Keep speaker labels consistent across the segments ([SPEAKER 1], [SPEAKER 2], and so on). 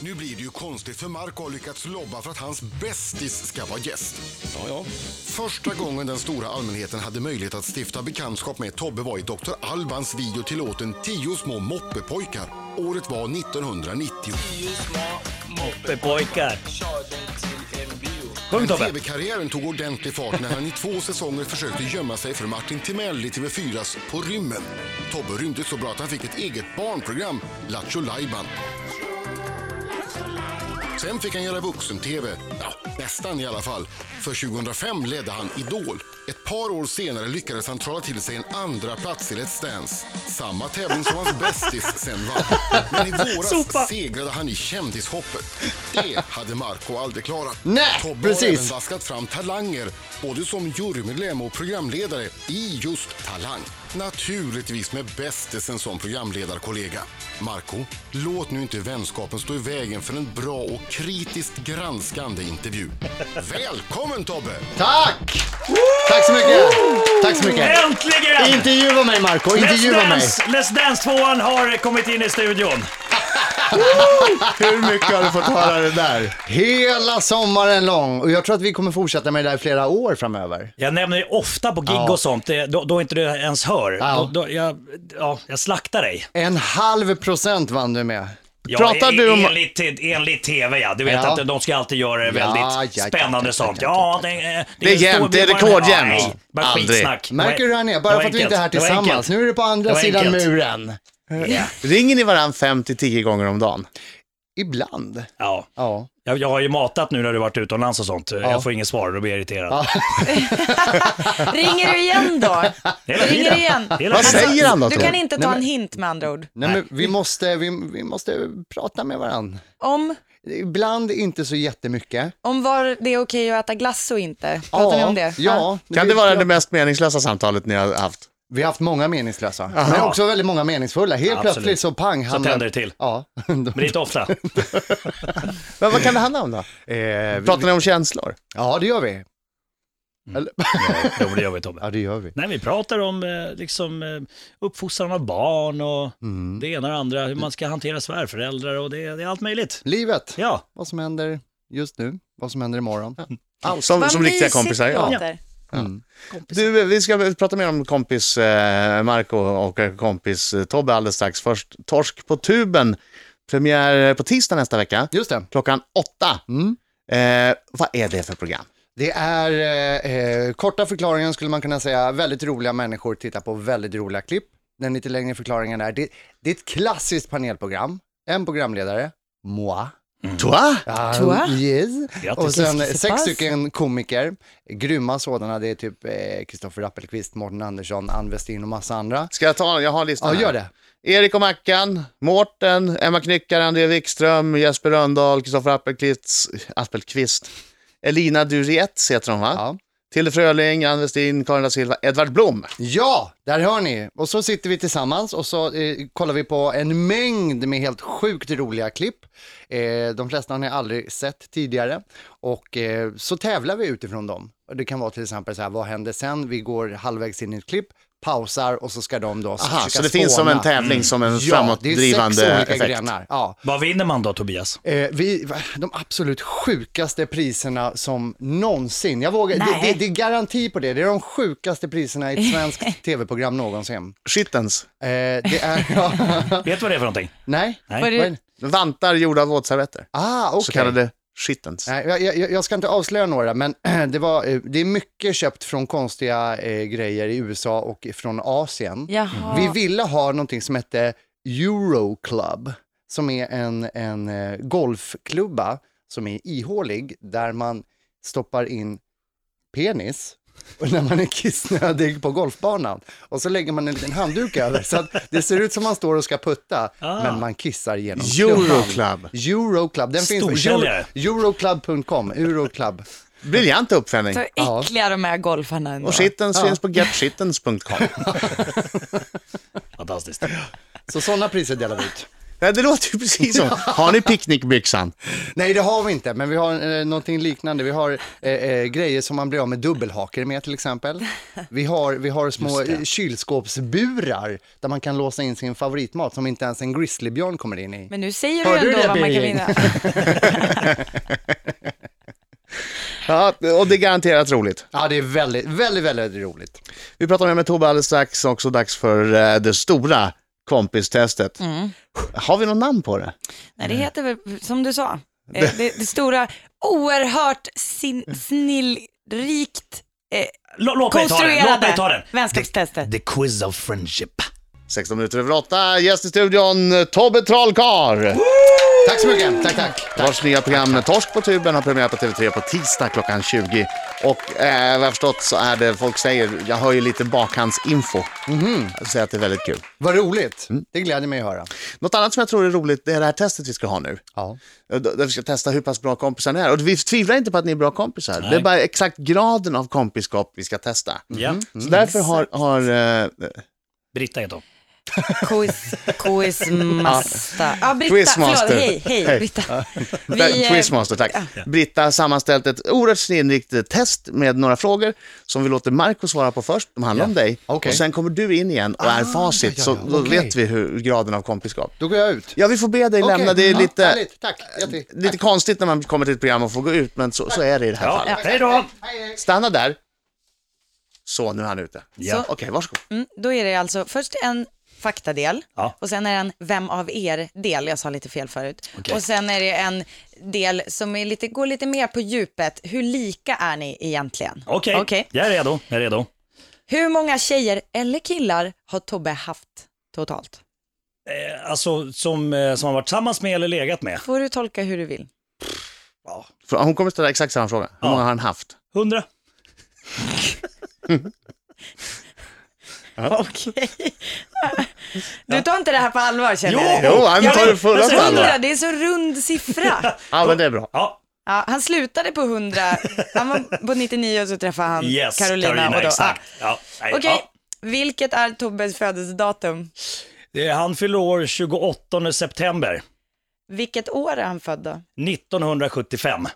[SPEAKER 1] Nu blir det ju konstigt för Marco har lyckats lobba för att hans bästis ska vara gäst.
[SPEAKER 2] Ja, ja.
[SPEAKER 1] Första gången den stora allmänheten hade möjlighet att stifta bekantskap med Tobbe var i Dr. Albans video till låten Tio små moppepojkar. Året var 1990.
[SPEAKER 3] Moppepojkar. Sjung
[SPEAKER 1] Men
[SPEAKER 3] Tobbe!
[SPEAKER 1] TV-karriären tog ordentlig fart när han i två säsonger försökte gömma sig för Martin Timell i TV4s På rymmen. Tobbe rymde så bra att han fick ett eget barnprogram, Lattjo Lajban. Sen fick han göra vuxen-TV, ja, nästan i alla fall. För 2005 ledde han Idol. Ett par år senare lyckades han trolla till sig en andra plats i Let's Dance. Samma tävling som hans bästis sen vann. Men i våras
[SPEAKER 3] Sopa.
[SPEAKER 1] segrade han i kändishoppet. Det hade Marco aldrig klarat.
[SPEAKER 4] Nej,
[SPEAKER 1] Tobbe har
[SPEAKER 4] precis.
[SPEAKER 1] även vaskat fram talanger, både som jurymedlem och programledare i just Talang. Naturligtvis med bästisen som programledarkollega. Marco, låt nu inte vänskapen stå i vägen för en bra och kritiskt granskande intervju. Välkommen Tobbe!
[SPEAKER 4] Tack! Tack så mycket! Tack så mycket!
[SPEAKER 3] Äntligen!
[SPEAKER 4] Intervjua mig Marco,
[SPEAKER 3] Let's
[SPEAKER 4] intervjua mig!
[SPEAKER 3] Dance! Let's Dance 2an har kommit in i studion.
[SPEAKER 4] Hur mycket har du fått höra det där? Hela sommaren lång och jag tror att vi kommer fortsätta med det där i flera år framöver.
[SPEAKER 3] Jag nämner ju ofta på gig
[SPEAKER 4] Ja.
[SPEAKER 3] och sånt, det, då, då inte du ens hör.
[SPEAKER 4] Ja.
[SPEAKER 3] Då, då, jag, ja, jag slaktar dig.
[SPEAKER 4] En halv procent vann du med.
[SPEAKER 3] Ja,
[SPEAKER 4] Pratar
[SPEAKER 3] e-
[SPEAKER 4] du om...
[SPEAKER 3] enligt, enligt TV ja, du vet
[SPEAKER 4] Ja.
[SPEAKER 3] att de ska alltid göra det
[SPEAKER 4] Ja,
[SPEAKER 3] väldigt
[SPEAKER 4] ja, ja,
[SPEAKER 3] spännande
[SPEAKER 4] ja,
[SPEAKER 3] sånt.
[SPEAKER 4] ja,
[SPEAKER 3] Ja,
[SPEAKER 4] ja,
[SPEAKER 3] det, eh,
[SPEAKER 5] Det är
[SPEAKER 3] en stor
[SPEAKER 5] jämnt, det är
[SPEAKER 3] bild bara-
[SPEAKER 5] rekordjämnt.
[SPEAKER 3] Ja, nej, Bara
[SPEAKER 5] Aldrig.
[SPEAKER 3] skitsnack.
[SPEAKER 4] Märker du hur han är? Bara för att vi inte är här tillsammans. Nu är du på andra
[SPEAKER 3] Det var
[SPEAKER 4] sidan
[SPEAKER 3] enkelt.
[SPEAKER 4] muren.
[SPEAKER 3] Ja,
[SPEAKER 5] Ringer ni varandra 5-10 gånger om dagen?
[SPEAKER 4] Ibland.
[SPEAKER 3] ja.
[SPEAKER 4] Ja.
[SPEAKER 3] Jag, jag har ju matat nu när du varit utomlands och sånt. Jag får inget svar och då blir jag irriterad.
[SPEAKER 6] Ringer du igen då?
[SPEAKER 3] Hela
[SPEAKER 6] Ringer
[SPEAKER 3] tiden.
[SPEAKER 6] du igen?
[SPEAKER 3] Hela
[SPEAKER 5] Vad
[SPEAKER 3] tiden.
[SPEAKER 5] säger han då,
[SPEAKER 6] alltså, Du
[SPEAKER 5] tror
[SPEAKER 6] kan
[SPEAKER 5] du?
[SPEAKER 6] inte ta en hint med andra ord.
[SPEAKER 4] Nej, men vi måste, vi, vi måste prata med varandra.
[SPEAKER 6] Om,
[SPEAKER 4] Ibland inte så jättemycket.
[SPEAKER 6] om var det är okej att äta glass och inte. Pratar ni om det?
[SPEAKER 4] Ja.
[SPEAKER 5] Kan det vara det mest meningslösa samtalet ni har haft?
[SPEAKER 4] Vi har haft många meningslösa, men också väldigt många meningsfulla. Helt
[SPEAKER 3] Absolut.
[SPEAKER 4] plötsligt så pang. hamnar-
[SPEAKER 3] tänder det till.
[SPEAKER 4] Ja.
[SPEAKER 3] Men det är inte ofta.
[SPEAKER 5] Men vad kan det handla om då?
[SPEAKER 4] Eh, vi-
[SPEAKER 5] Pratar ni om känslor?
[SPEAKER 4] ja, det gör vi.
[SPEAKER 3] Jo, men det gör vi Tobbe.
[SPEAKER 4] Ja, det gör vi.
[SPEAKER 3] Nej, vi pratar om eh, liksom, eh, uppfostran av barn och
[SPEAKER 5] Mm.
[SPEAKER 3] det ena och det andra, hur man ska hantera svärföräldrar och det, det är allt möjligt.
[SPEAKER 4] Livet,
[SPEAKER 3] Ja,
[SPEAKER 4] vad som händer just nu, vad som händer imorgon.
[SPEAKER 5] Som,
[SPEAKER 6] Vad
[SPEAKER 5] som riktiga
[SPEAKER 6] mysigt
[SPEAKER 5] kompisar?
[SPEAKER 6] det
[SPEAKER 5] Ja.
[SPEAKER 6] låter.
[SPEAKER 5] Du, vi ska prata mer om kompis eh, Marco och kompis eh, Tobbe alldeles strax. Först Torsk på tuben. Premiär på tisdag nästa vecka.
[SPEAKER 4] Just det.
[SPEAKER 5] Klockan åtta.
[SPEAKER 4] Mm.
[SPEAKER 5] Eh, vad är det för program?
[SPEAKER 4] Det är, eh, eh, korta förklaringen skulle man kunna säga, väldigt roliga människor tittar på väldigt roliga klipp. Den lite längre förklaringen är, det, det är ett klassiskt panelprogram. En programledare, moi.
[SPEAKER 5] Mm. Toi?
[SPEAKER 4] Ah,
[SPEAKER 6] Toi?
[SPEAKER 4] Yes.
[SPEAKER 3] Grattis.
[SPEAKER 4] Och sen
[SPEAKER 6] Qu'est-ce qui se
[SPEAKER 4] sex
[SPEAKER 6] passe?
[SPEAKER 4] stycken komiker, grymma sådana. Det är typ eh, Kristoffer Rappelqvist, Morten Andersson, Ann Westin och massa andra.
[SPEAKER 5] Ska jag ta Jag har listan
[SPEAKER 4] Ja,
[SPEAKER 5] här.
[SPEAKER 4] gör det.
[SPEAKER 5] Erik och Mackan, Mårten, Emma Knyckare, André Wikström, Jesper Röndahl, Kristoffer Appelqvist, Appelqvist, Elina Durietz heter hon va?
[SPEAKER 4] Ja.
[SPEAKER 5] Tilde Fröling, Ann Westin, Karin da Silva, Edvard Blom.
[SPEAKER 4] Ja, där hör ni. Och så sitter vi tillsammans och så eh, kollar vi på en mängd med helt sjukt roliga klipp. Eh, de flesta har ni aldrig sett tidigare. Och eh, så tävlar vi utifrån dem. Och det kan vara till exempel så här, vad händer sen? Vi går halvvägs in i ett klipp, pausar och så ska de då
[SPEAKER 5] Aha,
[SPEAKER 4] försöka
[SPEAKER 5] så det finns som
[SPEAKER 4] spåna.
[SPEAKER 5] en tävling, som en
[SPEAKER 4] Ja, det är sex
[SPEAKER 5] framåtdrivande
[SPEAKER 4] olika
[SPEAKER 5] effekt.
[SPEAKER 4] grenar. Ja.
[SPEAKER 3] Vad vinner man då Tobias?
[SPEAKER 4] Eh, vi, va, de absolut sjukaste priserna som någonsin. Jag vågar, det, det, det är garanti på det. Det är de sjukaste priserna i ett svenskt tv-program någonsin.
[SPEAKER 5] Shittens.
[SPEAKER 4] Eh, det är...
[SPEAKER 3] Vet du
[SPEAKER 4] Ja,
[SPEAKER 3] vad det är för någonting?
[SPEAKER 4] nej?
[SPEAKER 3] Nej.
[SPEAKER 6] Var
[SPEAKER 4] Vad är det?
[SPEAKER 6] det,
[SPEAKER 5] Vantar gjorda av våtservetter.
[SPEAKER 4] Ah, okej.
[SPEAKER 5] Så kallade shittens.
[SPEAKER 4] Nej, jag, jag, jag ska inte avslöja några, men det, var, eh, det är mycket köpt från konstiga eh, grejer i USA och från Asien.
[SPEAKER 6] jaha.
[SPEAKER 4] Vi ville ha någonting som hette Euroclub, som är en, en eh, golfklubba som är ihålig, där man stoppar in penis och när man är kissnödig på golfbanan. Och så lägger man en liten handduk över, så att det ser ut som man står och ska putta, men man kissar genom klubban.
[SPEAKER 5] Euroclub.
[SPEAKER 4] Euroclub, den finns på
[SPEAKER 3] Storsäljare.
[SPEAKER 4] Euro, euroclub.com, euroclub.
[SPEAKER 5] Briljant uppfinning.
[SPEAKER 6] Så äckliga de här golfarna ändå.
[SPEAKER 5] Och shittens finns på getshitens.com.
[SPEAKER 3] Fantastiskt.
[SPEAKER 4] Så sådana priser delar vi ut.
[SPEAKER 5] Nej, det låter ju precis som. Har ni picknickbyxan?
[SPEAKER 4] Nej, det har vi inte, men vi har eh, någonting liknande. Vi har eh, eh, grejer som man blir av med dubbelhaker med till exempel. Vi har, vi har små eh, kylskåpsburar där man kan låsa in sin favoritmat som inte ens en grizzlybjörn kommer in i.
[SPEAKER 6] Men nu säger
[SPEAKER 5] Hör
[SPEAKER 6] du
[SPEAKER 5] du
[SPEAKER 6] ändå
[SPEAKER 5] det,
[SPEAKER 6] vad man kan
[SPEAKER 5] Birgit?
[SPEAKER 6] vinna.
[SPEAKER 5] Ja, och det är garanterat roligt.
[SPEAKER 4] Ja, det är väldigt, väldigt, väldigt roligt.
[SPEAKER 5] Vi pratar mer med Tobbe alldeles strax, också dags för eh, det stora kompistestet. Har vi något namn på det?
[SPEAKER 6] Nej, det heter väl, som du sa, eh, det, det stora, oerhört sin, snillrikt eh,
[SPEAKER 3] Lå- Låt mig ta den, låt mig ta den.
[SPEAKER 6] konstruerade vänskapstestet.
[SPEAKER 3] The quiz of friendship.
[SPEAKER 5] 16 minuter över 8, gäst i studion eh, Tobbe Trollkarl.
[SPEAKER 4] Tack så mycket, tack, tack.
[SPEAKER 5] Vars nya program Torsk på tuben har premiär på TV3 på tisdag klockan 20. Och eh, vad jag har förstått så är det, folk säger, jag hör ju lite bakhandsinfo.
[SPEAKER 4] Mhm.
[SPEAKER 5] Så att det är väldigt kul.
[SPEAKER 4] Vad roligt, det gläder mig att höra.
[SPEAKER 5] Något annat som jag tror är roligt, det är det här testet vi ska ha nu.
[SPEAKER 4] Ja.
[SPEAKER 5] Eh, Där vi ska testa hur pass bra kompisar ni är. Och vi tvivlar inte på att ni är bra kompisar. Det är bara exakt graden av kompiskap vi ska testa. Mm.
[SPEAKER 3] Ja,
[SPEAKER 4] Mm.
[SPEAKER 5] Så därför har, har eh,
[SPEAKER 3] Britta heter hon.
[SPEAKER 6] Quiz, quizmaster. Ja, Britta,
[SPEAKER 5] Quizmaster.
[SPEAKER 6] förlåt, hej, hej,
[SPEAKER 5] Hej.
[SPEAKER 6] Britta.
[SPEAKER 5] Vi,
[SPEAKER 6] eh,
[SPEAKER 5] Quizmaster, tack. Britta har sammanställt ett oerhört snillrikt test med några frågor som vi låter Marco svara på först. De handlar om dig.
[SPEAKER 4] Okej. Ah,
[SPEAKER 5] Och sen kommer du in igen och är facit.
[SPEAKER 4] ja, ja,
[SPEAKER 5] Så då
[SPEAKER 4] okej.
[SPEAKER 5] vet vi hur graden av kompiskap.
[SPEAKER 4] Då går jag ut.
[SPEAKER 5] Ja, vi får be dig lämna.
[SPEAKER 4] Okej,
[SPEAKER 5] Det är
[SPEAKER 4] ja,
[SPEAKER 5] lite,
[SPEAKER 4] härligt. Tack, jätte-
[SPEAKER 5] lite konstigt när man kommer till ett program och får gå ut, men så, så är det i det här fallet.
[SPEAKER 3] Ja, hej då!
[SPEAKER 5] Stanna där. Så, nu är han ute.
[SPEAKER 3] Ja.
[SPEAKER 5] Okej, varsågod.
[SPEAKER 6] Mm, då är det alltså först en faktadel
[SPEAKER 3] Ja.
[SPEAKER 6] och sen är det en vem av er-del, jag sa lite fel förut.
[SPEAKER 3] Okej.
[SPEAKER 6] Och sen är det en del som är lite, går lite mer på djupet, hur lika är ni egentligen?
[SPEAKER 3] Okej, jag är redo. Jag är redo.
[SPEAKER 6] Hur många tjejer eller killar har Tobbe haft totalt?
[SPEAKER 3] Eh, alltså, som, eh, som har varit tillsammans med eller legat med?
[SPEAKER 6] Får du tolka hur du vill.
[SPEAKER 5] För Hon kommer ställa exakt samma fråga. Hur
[SPEAKER 3] Ja.
[SPEAKER 5] många har han haft?
[SPEAKER 3] 100.
[SPEAKER 6] Okej. Du tar inte det här på allvar känner jag.
[SPEAKER 5] Jo, han
[SPEAKER 3] jag
[SPEAKER 5] tar
[SPEAKER 3] vet.
[SPEAKER 5] det fulla
[SPEAKER 3] Jag säger
[SPEAKER 5] på allvar.
[SPEAKER 6] 100, det är så rund siffra.
[SPEAKER 5] Ja, men det är bra.
[SPEAKER 3] Ja,
[SPEAKER 6] Ja, han slutade på 100, han var på 99 och så träffade han
[SPEAKER 3] yes,
[SPEAKER 6] Carolina.
[SPEAKER 3] Carolina.
[SPEAKER 6] och då,
[SPEAKER 3] exakt.
[SPEAKER 6] Ja.
[SPEAKER 3] Ja, nej,
[SPEAKER 6] Okej,
[SPEAKER 3] ja.
[SPEAKER 6] vilket är Tobbes födelsedatum?
[SPEAKER 3] Det är- Han fyller år 28 september
[SPEAKER 6] Vilket år är han född då?
[SPEAKER 3] 1975.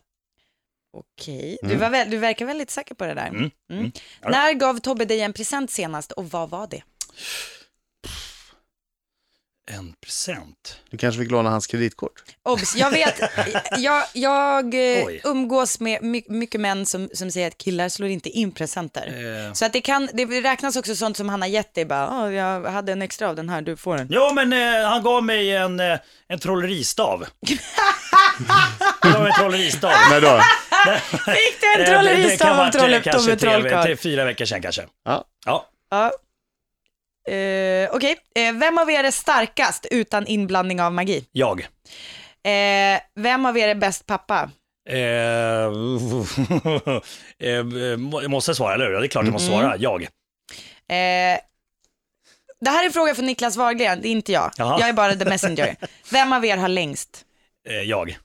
[SPEAKER 6] Okej,
[SPEAKER 3] Mm.
[SPEAKER 6] du, var väl, du verkar väldigt säker på det där. Mm. När gav Tobbe dig en present senast och vad var det?
[SPEAKER 3] En present.
[SPEAKER 5] Du kanske fick låna hans kreditkort.
[SPEAKER 6] Obs, jag vet, jag, jag eh,
[SPEAKER 3] Oj.
[SPEAKER 6] umgås med my, mycket män som, som säger att killar slår inte in presenter.
[SPEAKER 3] Eh.
[SPEAKER 6] Så att det, kan, det räknas också sånt som han har gett dig, bara, "Ah, jag hade en extra av den här, du får den.
[SPEAKER 3] Ja, men eh, han gav mig en, eh, en trolleristav. Han gav mig en trolleristav.
[SPEAKER 5] När då?
[SPEAKER 6] Fick du
[SPEAKER 3] Eh,
[SPEAKER 6] en
[SPEAKER 3] det- det kan
[SPEAKER 6] trolleristav
[SPEAKER 3] vara
[SPEAKER 6] av Trolle-
[SPEAKER 3] kanske
[SPEAKER 6] Tobbe
[SPEAKER 3] tre-
[SPEAKER 6] Trollkarl?
[SPEAKER 3] tre- Fyra veckor sedan kanske.
[SPEAKER 5] Ja.
[SPEAKER 3] Ja.
[SPEAKER 6] Ja. Eh, Okej, Eh, vem av er är starkast utan inblandning av magi?
[SPEAKER 3] Jag.
[SPEAKER 6] Eh, vem av er är bäst pappa?
[SPEAKER 3] Eh, eh, må- jag måste svara, eller hur? Ja, Det är klart jag måste svara. Jag.
[SPEAKER 6] Eh, det här är en fråga från Niklas Wahlgren, det är inte jag.
[SPEAKER 3] Jaha.
[SPEAKER 6] Jag är bara the messenger. Vem av er har längst?
[SPEAKER 3] Eh, jag.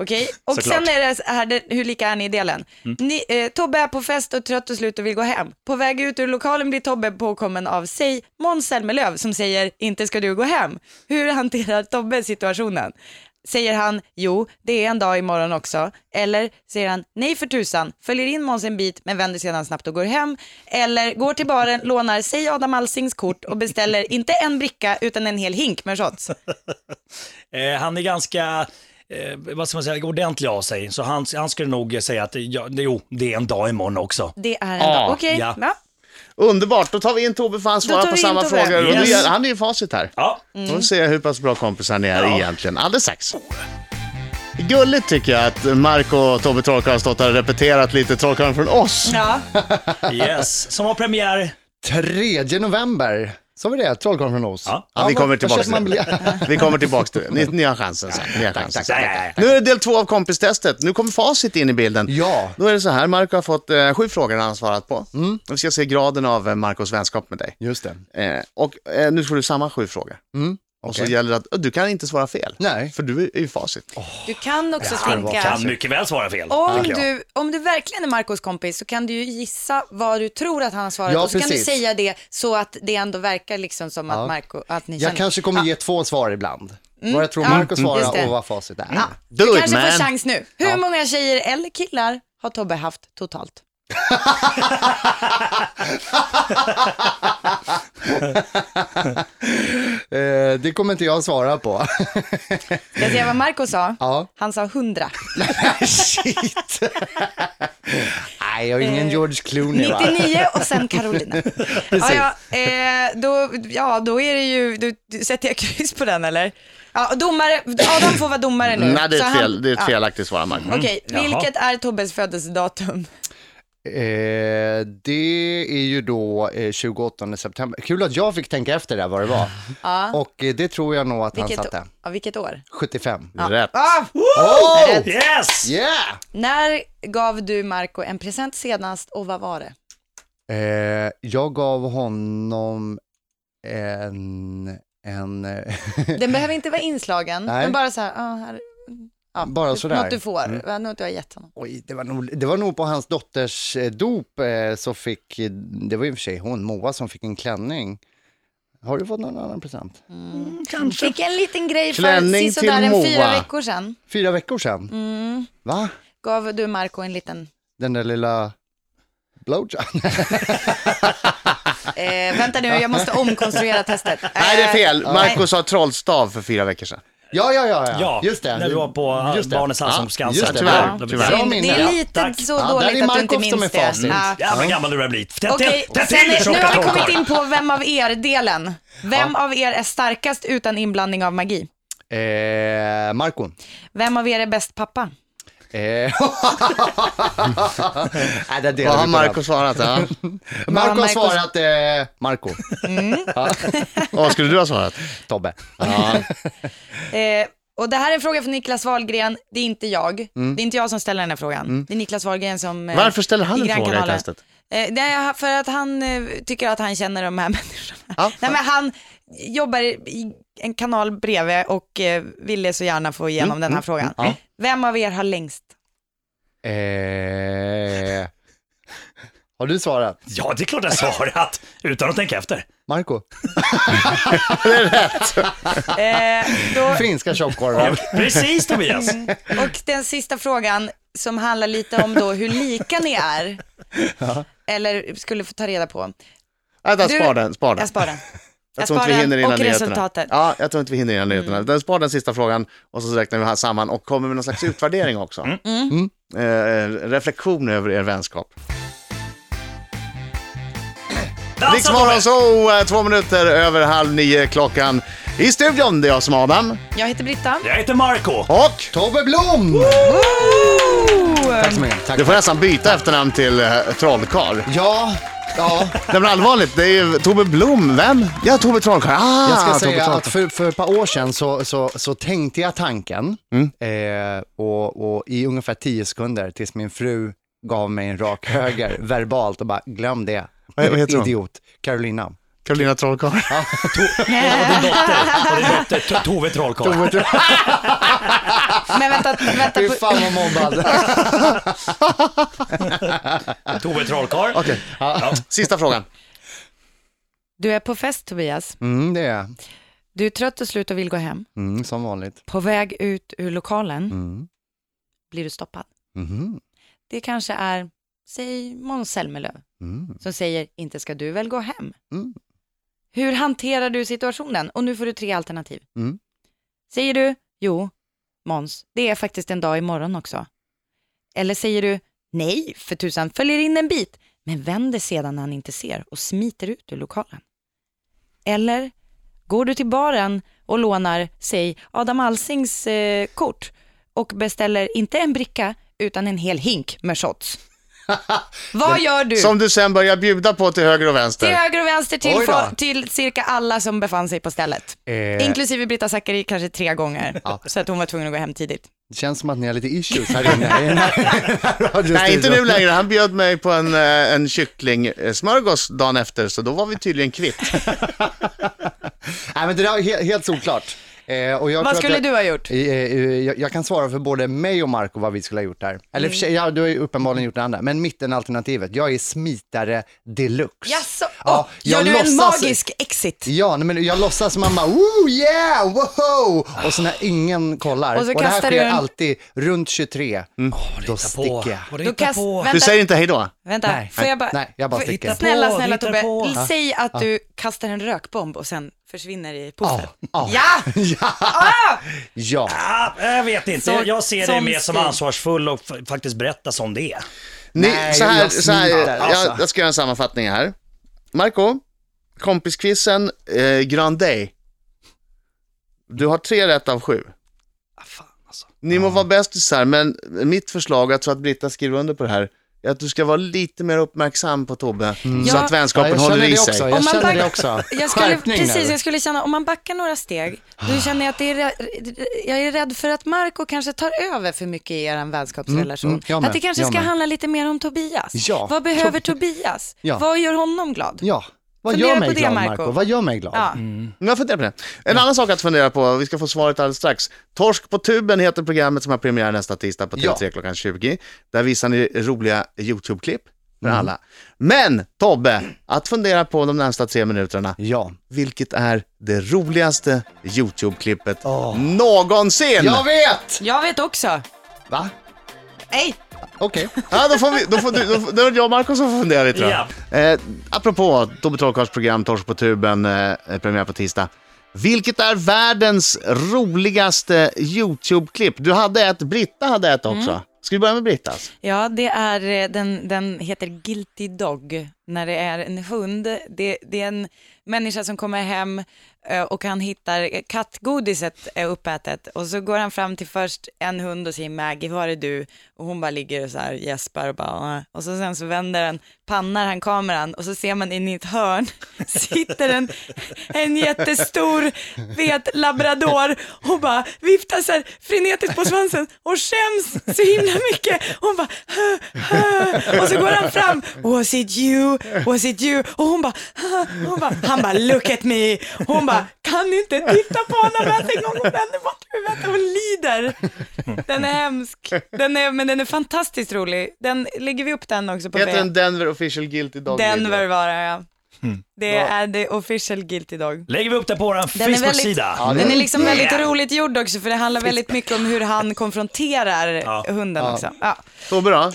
[SPEAKER 6] Okej, och
[SPEAKER 3] Såklart. Mm.
[SPEAKER 6] sen är det här, det- hur lika är ni i delen? Ni, eh, Tobbe är på fest och trött och slut och vill gå hem. På väg ut ur lokalen blir Tobbe påkommen av sig Måns Zelmerlöw som säger “inte ska du gå hem”. Hur hanterar Tobbe situationen? Säger han “jo, det är en dag imorgon också” eller säger han “nej för tusan”, följer in Måns en bit men vänder sedan snabbt och går hem eller går till baren, lånar sig Adam Alsings kort och beställer inte en bricka utan en hel hink med shots.
[SPEAKER 3] Eh, han är ganska, eh, vad ska man säga, ordentlig av sig. Så han, han skulle nog säga att, ja, det- jo, det är en dag imorgon också.
[SPEAKER 6] Det är en
[SPEAKER 5] Ah,
[SPEAKER 6] dag, okej.
[SPEAKER 3] ja.
[SPEAKER 6] Ja.
[SPEAKER 5] Underbart, då tar vi in Tobbe för han svarar
[SPEAKER 6] tar
[SPEAKER 5] på
[SPEAKER 6] vi in
[SPEAKER 5] samma
[SPEAKER 6] Tobbe.
[SPEAKER 5] frågor. Och
[SPEAKER 3] Yes.
[SPEAKER 5] det, han är ju facit här.
[SPEAKER 3] Ja,
[SPEAKER 5] Då får vi se hur pass bra kompisar ni är egentligen. Alldeles strax. Gulligt tycker jag att Marco och Tobbe Trollkarl har stått här och repeterat lite Trollkarlen från oss.
[SPEAKER 6] Ja.
[SPEAKER 3] yes. Som har premiär
[SPEAKER 4] 3 november, sa vi det? Trollkarlen från Oz.
[SPEAKER 3] Ja.
[SPEAKER 5] Ja,
[SPEAKER 4] vad-
[SPEAKER 5] vi kommer
[SPEAKER 4] vad
[SPEAKER 5] tillbaka
[SPEAKER 4] köper man
[SPEAKER 5] till det. Vi kommer tillbaka till det. Ni, ni har chansen sen. Ni har chansen sen.
[SPEAKER 3] tack, tack,
[SPEAKER 5] Nu är det del två av kompistestet. Nu kommer facit in i bilden.
[SPEAKER 4] Ja. Mm.
[SPEAKER 5] Då är det så här, Marco har fått eh, sju frågor han har svarat på. Vi ska se graden av eh, Marcos vänskap med dig.
[SPEAKER 4] Just det.
[SPEAKER 5] Eh, och eh, nu får du samma sju frågor. Och
[SPEAKER 4] Mm. Okej.
[SPEAKER 5] så gäller det att, du kan inte svara fel.
[SPEAKER 4] Nej.
[SPEAKER 5] För du är ju facit.
[SPEAKER 6] Du kan också
[SPEAKER 3] Jag
[SPEAKER 6] tänka,
[SPEAKER 3] kan mycket väl svara fel.
[SPEAKER 6] om
[SPEAKER 3] tycker jag.
[SPEAKER 6] du, om du verkligen är Marcos kompis så kan du ju gissa vad du tror att han har svarat
[SPEAKER 4] Ja,
[SPEAKER 6] och så kan du
[SPEAKER 4] precis.
[SPEAKER 6] säga det så att det ändå verkar liksom som att Marco, att ni
[SPEAKER 4] Jag kanske kommer ge två svar ibland. Vad jag tror
[SPEAKER 6] Mm. Ja,
[SPEAKER 4] Marco
[SPEAKER 6] just
[SPEAKER 4] svarar
[SPEAKER 6] det.
[SPEAKER 4] och vad facit är.
[SPEAKER 6] Ja,
[SPEAKER 5] Do
[SPEAKER 6] du
[SPEAKER 5] it,
[SPEAKER 6] kanske får
[SPEAKER 5] man.
[SPEAKER 6] chans nu. Hur många tjejer eller killar har Tobbe haft totalt?
[SPEAKER 4] Eh, det kommer inte jag svara på.
[SPEAKER 6] Ska jag säga vad Marco sa?
[SPEAKER 4] ja.
[SPEAKER 6] Han sa hundra.
[SPEAKER 4] Shit! Nej, jag är ingen George Clooney va?
[SPEAKER 6] 99 och sen Carolina. ja, ja, eh, då, ja, då är det ju, du, du, sätter jag kryss på den eller? Ja, och domare, Adam får vara domare nu.
[SPEAKER 5] Nej, det
[SPEAKER 6] Så
[SPEAKER 5] är ett,
[SPEAKER 6] han-
[SPEAKER 5] fel, det är ett
[SPEAKER 6] ja,
[SPEAKER 5] felaktigt svar, Marco.
[SPEAKER 6] Okej,
[SPEAKER 3] Jaha.
[SPEAKER 6] vilket är Tobbes födelsedatum?
[SPEAKER 4] Eh, det är ju då eh, 28 september. Kul att jag fick tänka efter där vad det var. Och eh, det tror jag nog att han
[SPEAKER 6] Vilket,
[SPEAKER 4] satte.
[SPEAKER 6] ja, vilket år?
[SPEAKER 4] 75.
[SPEAKER 5] Rätt.
[SPEAKER 6] Ah,
[SPEAKER 4] Oh!
[SPEAKER 3] Yes!
[SPEAKER 4] Yeah!
[SPEAKER 6] när gav du Marco en present senast och vad var det?
[SPEAKER 4] Eh, jag gav honom en... en eh,
[SPEAKER 6] Den behöver inte vara inslagen,
[SPEAKER 4] Nej.
[SPEAKER 6] men bara så här, ah, här ja, typ
[SPEAKER 4] Bara sådär.
[SPEAKER 6] Något du får, något du har gett honom.
[SPEAKER 4] Oj, det var, nog, det var nog på hans dotters eh, dop eh, så fick, det var i och för sig hon, Moa, som fick en klänning. Har du fått någon annan present?
[SPEAKER 3] Kanske.
[SPEAKER 6] Fick en liten grej
[SPEAKER 5] Klänning
[SPEAKER 6] för sisådär
[SPEAKER 5] till
[SPEAKER 6] en fyra
[SPEAKER 5] Moa.
[SPEAKER 6] veckor sedan.
[SPEAKER 4] Fyra veckor sedan. Va?
[SPEAKER 6] Gav du Marco en liten,
[SPEAKER 4] Den där lilla blowjob?
[SPEAKER 6] eh, vänta nu jag måste omkonstruera testet.
[SPEAKER 5] Nej, det är fel.
[SPEAKER 6] Eh,
[SPEAKER 5] Marco sa trollstav för fyra veckor sedan.
[SPEAKER 4] ja, ja, ja, ja,
[SPEAKER 3] Ja,
[SPEAKER 4] just det.
[SPEAKER 3] när vi var på
[SPEAKER 4] Just det.
[SPEAKER 3] barnens
[SPEAKER 5] Ja,
[SPEAKER 3] allsång på Skansen.
[SPEAKER 4] just
[SPEAKER 5] det. Tyvärr,
[SPEAKER 3] Ja,
[SPEAKER 5] tyvärr.
[SPEAKER 4] Bra
[SPEAKER 6] synd. Eh, det är
[SPEAKER 4] minne.
[SPEAKER 6] lite
[SPEAKER 3] Tack.
[SPEAKER 6] så
[SPEAKER 4] Ja, där
[SPEAKER 6] dåligt
[SPEAKER 4] är
[SPEAKER 6] att du inte
[SPEAKER 4] Marco som är
[SPEAKER 6] minns det.
[SPEAKER 4] facit. Mm.
[SPEAKER 6] Ja.
[SPEAKER 3] Jävlar vad gammal du börjar bli. Tätt
[SPEAKER 6] Okej,
[SPEAKER 3] till, tätt
[SPEAKER 6] sen
[SPEAKER 3] till
[SPEAKER 6] är- nu
[SPEAKER 3] tjocka
[SPEAKER 6] har vi kommit
[SPEAKER 3] trollkarl.
[SPEAKER 6] in på vem av er-delen. Vem av er är starkast utan inblandning av magi?
[SPEAKER 4] Eh, Marco.
[SPEAKER 6] Vem av er är bäst pappa?
[SPEAKER 4] Eh. Nej, där delar
[SPEAKER 5] Vad
[SPEAKER 4] vi
[SPEAKER 5] har
[SPEAKER 4] på
[SPEAKER 5] Marco svarat? Ja.
[SPEAKER 4] den. Marco har
[SPEAKER 6] Marco-
[SPEAKER 4] svarat eh, Marco,
[SPEAKER 5] Vad skulle du ha svarat?
[SPEAKER 4] Tobbe.
[SPEAKER 6] Eh, och det här är en fråga från Niklas Wahlgren, det är inte jag. Det är inte jag som ställer den här frågan. Det är Niklas Wahlgren som... eh,
[SPEAKER 5] Mm. Varför ställer han
[SPEAKER 6] i
[SPEAKER 5] en fråga i
[SPEAKER 6] Grannkanalen.
[SPEAKER 5] testet?
[SPEAKER 6] Eh, nej, för att han eh, tycker att han känner de här människorna. nej, men han jobbar i en kanal bredvid och eh, ville så gärna få igenom
[SPEAKER 5] Mm.
[SPEAKER 6] den här frågan. Vem av er har längst?
[SPEAKER 4] Eh. Har du svarat?
[SPEAKER 3] Ja, det är klart jag svarat. Utan att tänka efter.
[SPEAKER 4] Marco?
[SPEAKER 5] Ah,
[SPEAKER 6] Eh, då,
[SPEAKER 4] Finska tjockkorvar.
[SPEAKER 3] Precis Tobias.
[SPEAKER 6] Mm. och den sista frågan som handlar lite om då hur lika ni är. Eller skulle få ta reda på.
[SPEAKER 5] Vänta,
[SPEAKER 6] Du-
[SPEAKER 5] spar den. Spar den.
[SPEAKER 6] Jag sparar den. Jag
[SPEAKER 5] Jag tror inte vi
[SPEAKER 6] sparar
[SPEAKER 5] hinner
[SPEAKER 6] den
[SPEAKER 5] innan
[SPEAKER 6] och
[SPEAKER 5] nyheterna.
[SPEAKER 6] resultatet.
[SPEAKER 5] Ja, jag tror inte vi hinner innan nyheterna.
[SPEAKER 4] Mm.
[SPEAKER 5] Den spar den sista frågan och så räknar vi här samman och kommer med någon slags utvärdering också.
[SPEAKER 4] Mm.
[SPEAKER 5] Eh, eh, reflektion över er vänskap.
[SPEAKER 3] Dansa
[SPEAKER 5] Riksmorgon
[SPEAKER 3] Tobbe!
[SPEAKER 5] så eh, två minuter över halv nio klockan. I studion, det är jag som är Adam.
[SPEAKER 6] Jag heter Britta.
[SPEAKER 3] Jag heter Marco.
[SPEAKER 5] Och
[SPEAKER 4] Tobbe Blom! Tack så mycket. Tack.
[SPEAKER 5] du får nästan byta efternamn till eh, trollkarl.
[SPEAKER 4] Ja, ja.
[SPEAKER 5] Nej men allvarligt, det är ju Tobbe Blom. Vem? Ja, Tobbe Trollkarl. Ah,
[SPEAKER 4] Jag ska
[SPEAKER 5] Tobbe
[SPEAKER 4] säga
[SPEAKER 5] Trollkarl.
[SPEAKER 4] att för, för ett par år sedan så, så, så tänkte jag tanken
[SPEAKER 5] Mm.
[SPEAKER 4] eh, och, och i ungefär tio sekunder tills min fru gav mig en rak höger verbalt och bara glöm det.
[SPEAKER 5] Vad- vad heter hon?
[SPEAKER 4] Idiot. Carolina.
[SPEAKER 5] Carolina Trollkarl.
[SPEAKER 3] Och din dotter. Och din dotter To- Tove Trollkarl.
[SPEAKER 6] Men vänta, vänta.
[SPEAKER 4] Fy
[SPEAKER 6] på-
[SPEAKER 4] fan vad mobbad.
[SPEAKER 3] Tove Trollkarl.
[SPEAKER 5] Okej, sista frågan.
[SPEAKER 6] Du är på fest Tobias.
[SPEAKER 4] Mm, det är jag.
[SPEAKER 6] Du är trött och slut och vill gå hem.
[SPEAKER 4] mm, som vanligt.
[SPEAKER 6] På väg ut ur lokalen
[SPEAKER 4] Mm.
[SPEAKER 6] blir du stoppad.
[SPEAKER 4] Mhm.
[SPEAKER 6] Det kanske är, säg Måns Zelmerlöw,
[SPEAKER 4] Mm.
[SPEAKER 6] som säger inte ska du väl gå hem?
[SPEAKER 4] Mm.
[SPEAKER 6] Hur hanterar du situationen? Och nu får du tre alternativ.
[SPEAKER 4] Mm.
[SPEAKER 6] Säger du, jo, Måns, det är faktiskt en dag imorgon också. Eller säger du, nej, för tusan, följer in en bit, men vänder sedan när han inte ser och smiter ut ur lokalen. Eller går du till baren och lånar, säg, Adam Alsings eh, kort och beställer inte en bricka utan en hel hink med shots. Vad gör du?
[SPEAKER 5] Som du sen börjar bjuda på till höger och
[SPEAKER 6] Till
[SPEAKER 5] vänster.
[SPEAKER 6] höger och vänster till,
[SPEAKER 4] Oj då.
[SPEAKER 6] fol- till cirka alla som befann sig på stället.
[SPEAKER 4] Eh.
[SPEAKER 6] Inklusive Brita Zackari kanske tre gånger. Så att hon var tvungen att gå hem tidigt.
[SPEAKER 4] Det känns som att ni har lite issues här inne. i den här- radiostudion.
[SPEAKER 5] Nej, inte nu längre. Han bjöd mig på en, eh, en kycklingsmörgås dagen efter, så då var vi tydligen kvitt.
[SPEAKER 4] Nej, men det där är helt, helt solklart. Eh, och jag
[SPEAKER 6] Vad
[SPEAKER 4] tror att
[SPEAKER 6] skulle
[SPEAKER 4] jag,
[SPEAKER 6] du ha gjort?
[SPEAKER 4] Eh, eh, Jag, jag kan svara för både mig och Marco vad vi skulle ha gjort där. Eller i och för
[SPEAKER 6] Mm.
[SPEAKER 4] sig, ja, du har ju uppenbarligen gjort det andra, men mittenalternativet, jag är smitare deluxe.
[SPEAKER 6] Jaså?
[SPEAKER 4] Ja,
[SPEAKER 6] Åh, gör
[SPEAKER 4] jag
[SPEAKER 6] du en
[SPEAKER 4] låtsas-
[SPEAKER 6] magisk exit?
[SPEAKER 4] Ja, nej, men jag låtsas som man bara, oh yeah, wow! Och så när ingen kollar,
[SPEAKER 6] Och
[SPEAKER 4] och,
[SPEAKER 6] så
[SPEAKER 4] det här
[SPEAKER 6] kastar du
[SPEAKER 4] sker
[SPEAKER 6] en-
[SPEAKER 4] alltid runt 23, då
[SPEAKER 3] På.
[SPEAKER 4] sticker jag.
[SPEAKER 3] Vad du
[SPEAKER 6] Då
[SPEAKER 3] hittar
[SPEAKER 6] kast-
[SPEAKER 3] på.
[SPEAKER 6] vänta,
[SPEAKER 5] Du säger inte hej då?
[SPEAKER 6] vänta.
[SPEAKER 4] Nej,
[SPEAKER 6] får jag bara...
[SPEAKER 4] nej, jag bara
[SPEAKER 6] får-
[SPEAKER 4] sticker.
[SPEAKER 6] Snälla,
[SPEAKER 3] Hitta på,
[SPEAKER 6] snälla
[SPEAKER 3] hitta
[SPEAKER 6] Tobbe,
[SPEAKER 3] på.
[SPEAKER 6] l- säg att du kastar en rökbomb och sen försvinner i puffen.
[SPEAKER 4] ja.
[SPEAKER 6] Ja!
[SPEAKER 4] Ja,
[SPEAKER 3] Ah, jag vet inte,
[SPEAKER 6] Så-
[SPEAKER 3] jag, jag ser dig
[SPEAKER 6] sån
[SPEAKER 3] mer som
[SPEAKER 6] stil.
[SPEAKER 3] ansvarsfull och f- faktiskt berätta som det är.
[SPEAKER 5] Ni,
[SPEAKER 4] Nej,
[SPEAKER 5] så här,
[SPEAKER 4] jag
[SPEAKER 5] så här
[SPEAKER 4] smiter, alltså.
[SPEAKER 5] jag, jag ska göra en sammanfattning här. Marco, kompiskvissen, eh, Grand Day. Du har tre rätt av sju.
[SPEAKER 3] Ah, fan alltså.
[SPEAKER 5] Ni må vara bästisar, men mitt förslag, jag tror att Britta skriver under på det här, är att du ska vara lite mer uppmärksam på Tobbe, så
[SPEAKER 6] Ja.
[SPEAKER 5] att
[SPEAKER 4] Mm. ja
[SPEAKER 5] vänskapen
[SPEAKER 4] jag känner
[SPEAKER 5] håller i
[SPEAKER 4] det
[SPEAKER 5] sig.
[SPEAKER 4] också.
[SPEAKER 6] Om
[SPEAKER 4] Jag
[SPEAKER 6] man
[SPEAKER 4] känner
[SPEAKER 6] back-
[SPEAKER 4] det också.
[SPEAKER 6] Jag skulle,
[SPEAKER 4] Skärpning nu. Ah.
[SPEAKER 6] precis, jag skulle känna, om man backar några steg, då känner jag att det är, rä- jag är rädd för att Marco kanske tar över för mycket i er vänskapsrelation.
[SPEAKER 4] Mm, mm, jag med,
[SPEAKER 6] att det kanske
[SPEAKER 4] jag
[SPEAKER 6] ska
[SPEAKER 4] med.
[SPEAKER 6] handla lite mer om Tobias.
[SPEAKER 4] Ja.
[SPEAKER 6] Vad behöver Tobias?
[SPEAKER 4] Ja.
[SPEAKER 6] Vad gör honom glad?
[SPEAKER 4] Ja, vad
[SPEAKER 6] Fundera
[SPEAKER 4] gör
[SPEAKER 6] på
[SPEAKER 4] mig
[SPEAKER 6] det,
[SPEAKER 4] glad
[SPEAKER 6] Marco.
[SPEAKER 4] Marco? Vad gör mig glad?
[SPEAKER 6] Ja.
[SPEAKER 5] Men Jag funderar på det. En annan sak att fundera på, vi ska få svaret alldeles strax. Torsk på tuben heter programmet som har premiär nästa tisdag på TV3 klockan 20. Där visar ni roliga YouTube-klipp för alla. Men Tobbe, att fundera på de närmsta tre minuterna.
[SPEAKER 4] Ja.
[SPEAKER 5] Vilket är det roligaste YouTube-klippet någonsin?
[SPEAKER 4] Jag vet!
[SPEAKER 6] Jag vet också.
[SPEAKER 4] Va?
[SPEAKER 6] Nej,
[SPEAKER 4] Okej.
[SPEAKER 5] Ja, då får vi, då får du, då får, då är det jag och Marco som funderar lite då. Eh, apropå Tobbe Trollkarls program Torsk på tuben, eh, premiär på tisdag. Vilket är världens roligaste YouTube-klipp? Du hade ett, Britta hade ett också. Ska vi börja med Brittas?
[SPEAKER 6] Ja, det är, eh, den, den heter Guilty Dog, när det är en hund. Det, det är en människa som kommer hem eh, och han hittar eh, kattgodiset eh, uppätet och så går han fram till först en hund och säger Maggie, var är du? Och hon bara ligger och så här gäspar och bara "Åh." och så sen så vänder han, pannar han kameran och så ser man in i ett hörn sitter en, en jättestor fet labrador och bara viftar så här frenetiskt på svansen och skäms så himla mycket. Hon bara "Hö, hö." och så går han fram, was it you, was it you? Och hon bara, "Hö." hon bara, han bara look at me. Hon bara, kan ni inte titta på honom ens en gång? Hon vänder bort huvudet och lider. Den är hemsk, den är, men den är fantastiskt rolig. Den lägger vi upp den också på
[SPEAKER 5] Heter
[SPEAKER 6] V.
[SPEAKER 5] den Denver Official Guilty Dog Video?
[SPEAKER 6] Denver var det ja. Det är the official guilty dog.
[SPEAKER 3] Lägger vi upp det på vår
[SPEAKER 6] Den är, väldigt,
[SPEAKER 3] Facebook-sida.
[SPEAKER 6] den är liksom
[SPEAKER 3] Mm.
[SPEAKER 6] väldigt
[SPEAKER 3] Yeah.
[SPEAKER 6] roligt gjord också för det handlar väldigt mycket om hur han konfronterar hunden också. Ja.
[SPEAKER 5] Tobbe då?
[SPEAKER 4] Eh,
[SPEAKER 5] Och